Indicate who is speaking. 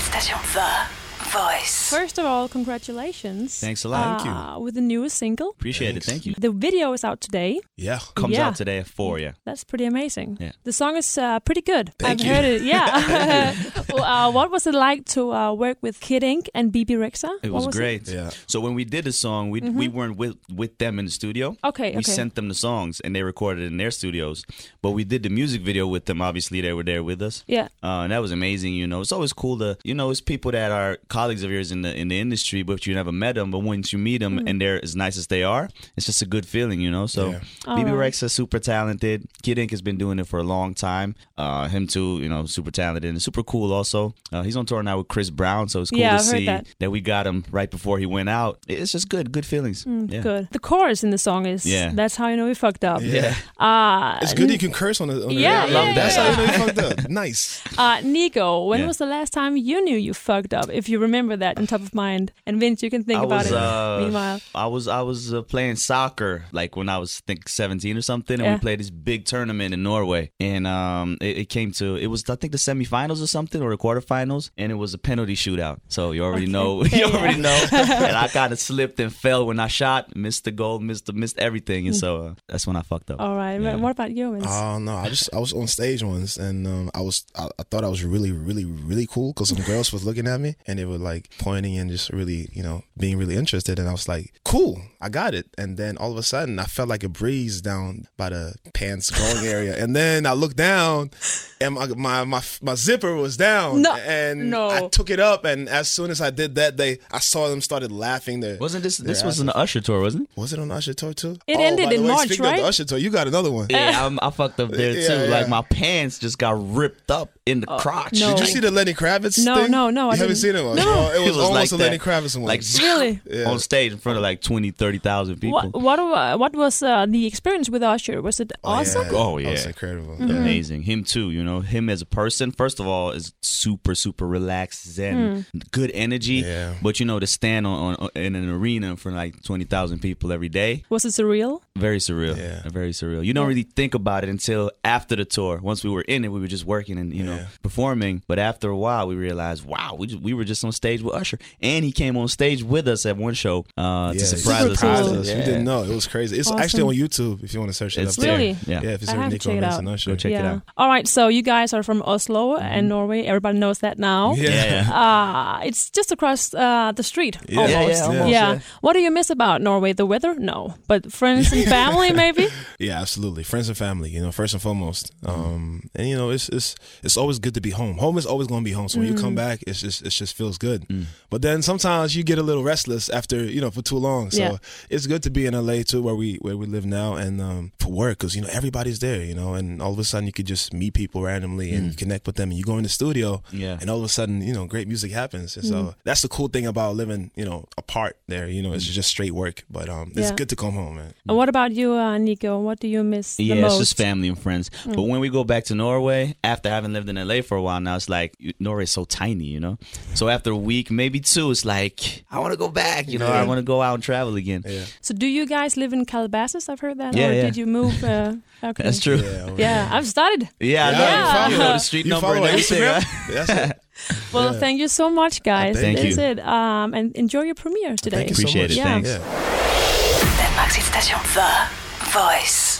Speaker 1: station. The Voice.
Speaker 2: First of all, congratulations.
Speaker 3: Thanks a lot. Thank
Speaker 2: you. With the newest single.
Speaker 3: Appreciate it. Thank you.
Speaker 2: The video is out today.
Speaker 4: Yeah.
Speaker 3: Comes
Speaker 2: Yeah.
Speaker 3: out today at four. Yeah.
Speaker 2: That's pretty amazing.
Speaker 3: Yeah.
Speaker 2: The song is uh, pretty good.
Speaker 4: Thank
Speaker 2: I've
Speaker 4: you.
Speaker 2: heard it. Yeah. well, uh, what was it like to uh, work with Kid Ink and BB Rexa?
Speaker 3: It
Speaker 2: What Mm-hmm.
Speaker 3: was, great.
Speaker 4: Yeah.
Speaker 3: So when we did the song, we we weren't with with them in the studio.
Speaker 2: Okay,
Speaker 3: We
Speaker 2: okay.
Speaker 3: sent them the songs and they recorded in their studios. But we did the music video with them. Obviously, they were there with us.
Speaker 2: Yeah.
Speaker 3: Uh, and that was amazing. You know, it's always cool to you know it's people that are colleagues of yours in the in the industry, but you never met them. But once you meet
Speaker 2: Mm-hmm.
Speaker 3: them and they're as nice as they are, it's just a good feeling. You know. So
Speaker 4: Yeah.
Speaker 3: BB Rex is super talented. Kid Ink has been doing it for a long time. Uh, him too. You know, super talented and super cool. Also, uh, he's on tour now with Chris Brown, so it's cool
Speaker 2: Yeah,
Speaker 3: to
Speaker 2: I've heard
Speaker 3: see
Speaker 2: that.
Speaker 3: we got him right before he went out. It's just good, good feelings. yeah.
Speaker 2: Mm, Good. The chorus in the song is
Speaker 3: Yeah.
Speaker 2: That's How You Know We Fucked Up.
Speaker 4: Yeah.
Speaker 2: Uh,
Speaker 4: It's good you can curse on the. On the
Speaker 2: Yeah,
Speaker 4: radio.
Speaker 2: I love
Speaker 4: That's
Speaker 2: that.
Speaker 4: how you know you fucked up. Nice.
Speaker 2: Uh, Nico, when
Speaker 3: Yeah.
Speaker 2: was the last time you knew you fucked up? If you remember that on top of mind, and Vince, you can think
Speaker 3: I
Speaker 2: about
Speaker 3: was,
Speaker 2: it.
Speaker 3: uh,
Speaker 2: Meanwhile,
Speaker 3: I was I was uh, playing soccer like when I was think 17 or something, and
Speaker 2: Yeah.
Speaker 3: we played this big tournament in Norway, and um, it, it came to it was I think the semifinals or something or the quarterfinals, and it was a penalty shootout. So you already know,
Speaker 2: Okay,
Speaker 3: you
Speaker 2: yeah.
Speaker 3: already know, and I kind of slipped and fell when I shot, missed the goal, missed the, missed everything, and so uh, that's when I fucked up.
Speaker 2: Mm. all right.
Speaker 3: yeah. Uh,
Speaker 2: What about you, Vince?
Speaker 4: Oh no! I just I was on stage once, and um, I was I, I thought I was really really really cool because some girls was looking at me and they were like pointing and just really you know being really interested, and I was like, cool, I got it. And then all of a sudden, I felt like a breeze down by the pants going area, and then I looked down, and my my my, my zipper was down,
Speaker 2: No.
Speaker 4: and
Speaker 2: No.
Speaker 4: I took it up, and as soon as I did that, they I saw them started laughing. There
Speaker 3: Wasn't this this
Speaker 4: Yeah,
Speaker 3: was an Usher tour, wasn't it?
Speaker 4: was it on Usher tour too? Oh,
Speaker 2: It ended
Speaker 4: by the
Speaker 2: in
Speaker 4: way,
Speaker 2: March,
Speaker 4: speaking Of
Speaker 2: right?
Speaker 4: the Usher tour, you got another one.
Speaker 3: Yeah, I'm, I fucked up there
Speaker 4: Yeah,
Speaker 3: too. Like
Speaker 4: yeah. Oh,
Speaker 3: my pants just got ripped up in the crotch.
Speaker 2: no.
Speaker 4: Did you see the Lenny Kravitz
Speaker 2: No,
Speaker 4: thing?
Speaker 2: no, no,
Speaker 4: You
Speaker 2: I
Speaker 4: haven't
Speaker 2: didn't.
Speaker 4: seen it one. No. it was, almost a
Speaker 3: that.
Speaker 4: Lenny Kravitz one.
Speaker 3: Like
Speaker 2: Really?
Speaker 3: on stage in front of like 20, 30,000 people.
Speaker 2: What what wa- what was uh, the experience with Usher? Was it awesome? Mm-hmm.
Speaker 3: Oh, yeah.
Speaker 4: That was incredible.
Speaker 3: Amazing. Him too, you know. Him as a person, first of all, is super, super relaxed, zen, good energy.
Speaker 4: Hmm. Yeah.
Speaker 3: But you know, to stand on, on in an arena in front of like twenty thousand people every day,
Speaker 2: Was it surreal?
Speaker 3: very surreal.
Speaker 4: Yeah.
Speaker 3: Very surreal. You don't really think about it until after the tour. Once we were in it, we were just working and you know
Speaker 4: Yeah.
Speaker 3: performing. But after a while, we realized, wow, we just, we were just on stage with Usher, and he came on stage with us at one show uh, to
Speaker 4: Yeah,
Speaker 3: surprise us.
Speaker 2: surprised
Speaker 4: us.
Speaker 3: Yeah.
Speaker 4: We didn't know. It was crazy. It's
Speaker 2: Awesome.
Speaker 4: actually on YouTube if you want to search it
Speaker 3: It's
Speaker 4: up there.
Speaker 2: Really?
Speaker 3: Yeah.
Speaker 4: Yeah, if you
Speaker 2: I
Speaker 4: search
Speaker 2: have to
Speaker 4: Nico
Speaker 2: check it
Speaker 4: Vince
Speaker 2: out.
Speaker 4: and Usher.
Speaker 3: Go check it
Speaker 2: yeah.
Speaker 3: out. Mm-hmm.
Speaker 2: All right. So you guys are from Oslo and Norway. Everybody knows that now.
Speaker 4: Yeah.
Speaker 3: Yeah, yeah.
Speaker 2: Uh, it's just across uh, the street.
Speaker 4: Yeah.
Speaker 2: almost.
Speaker 3: Yeah, yeah, almost, yeah.
Speaker 2: What do you miss about Norway? The weather? No. But friends and family, maybe?
Speaker 4: Yeah, absolutely. Friends and family, you know, first and foremost. Um, and you know, it's it's it's always good to be home. Home is always going to be home. So when you come back, it's just it just feels good. But then sometimes you get a little restless after you know for too long. So
Speaker 2: Yeah.
Speaker 4: it's good to be in LA too, where we where we live now, and um, for work because you know everybody's there, you know, and all of a sudden you could just meet people randomly and connect with them, and you go in the studio,
Speaker 3: Yeah.
Speaker 4: and all of a sudden you know great music happens. And so that's the cool thing about living, you know, apart there. You know, it's just straight work, but um, it's
Speaker 2: Yeah.
Speaker 4: good to come home, man.
Speaker 2: And what about you, uh, Nico? What do you miss the
Speaker 3: Yeah,
Speaker 2: most? Mm.
Speaker 3: it's just family and friends. But when we go back to Norway, after having lived in LA for a while now, it's like you- Norway's so tiny, you know. So after a week, maybe two, it's like I want to go back. You know, I want to go out and travel again. Yeah,
Speaker 2: So, do you guys live in Calabasas? I've heard that.
Speaker 3: Yeah,
Speaker 2: or
Speaker 3: yeah.
Speaker 2: did you move? Uh, okay.
Speaker 3: that's true. Yeah,
Speaker 4: Yeah, over
Speaker 2: Yeah, I've started.
Speaker 3: I know.
Speaker 2: Yeah.
Speaker 3: You know the street
Speaker 4: You
Speaker 3: number
Speaker 4: follow
Speaker 3: and
Speaker 4: our
Speaker 3: everything.
Speaker 4: Instagram?
Speaker 3: Right?
Speaker 4: That's it.
Speaker 2: Well,
Speaker 4: Yeah.
Speaker 2: thank you so much, guys.
Speaker 3: Thank
Speaker 2: That's
Speaker 3: you.
Speaker 2: it. Um, and enjoy your premiere today.
Speaker 4: Thank you so
Speaker 3: Appreciate
Speaker 4: much.
Speaker 3: it.
Speaker 2: Yeah.
Speaker 3: Thanks.
Speaker 4: Yeah.
Speaker 1: Denmark's station. The Voice.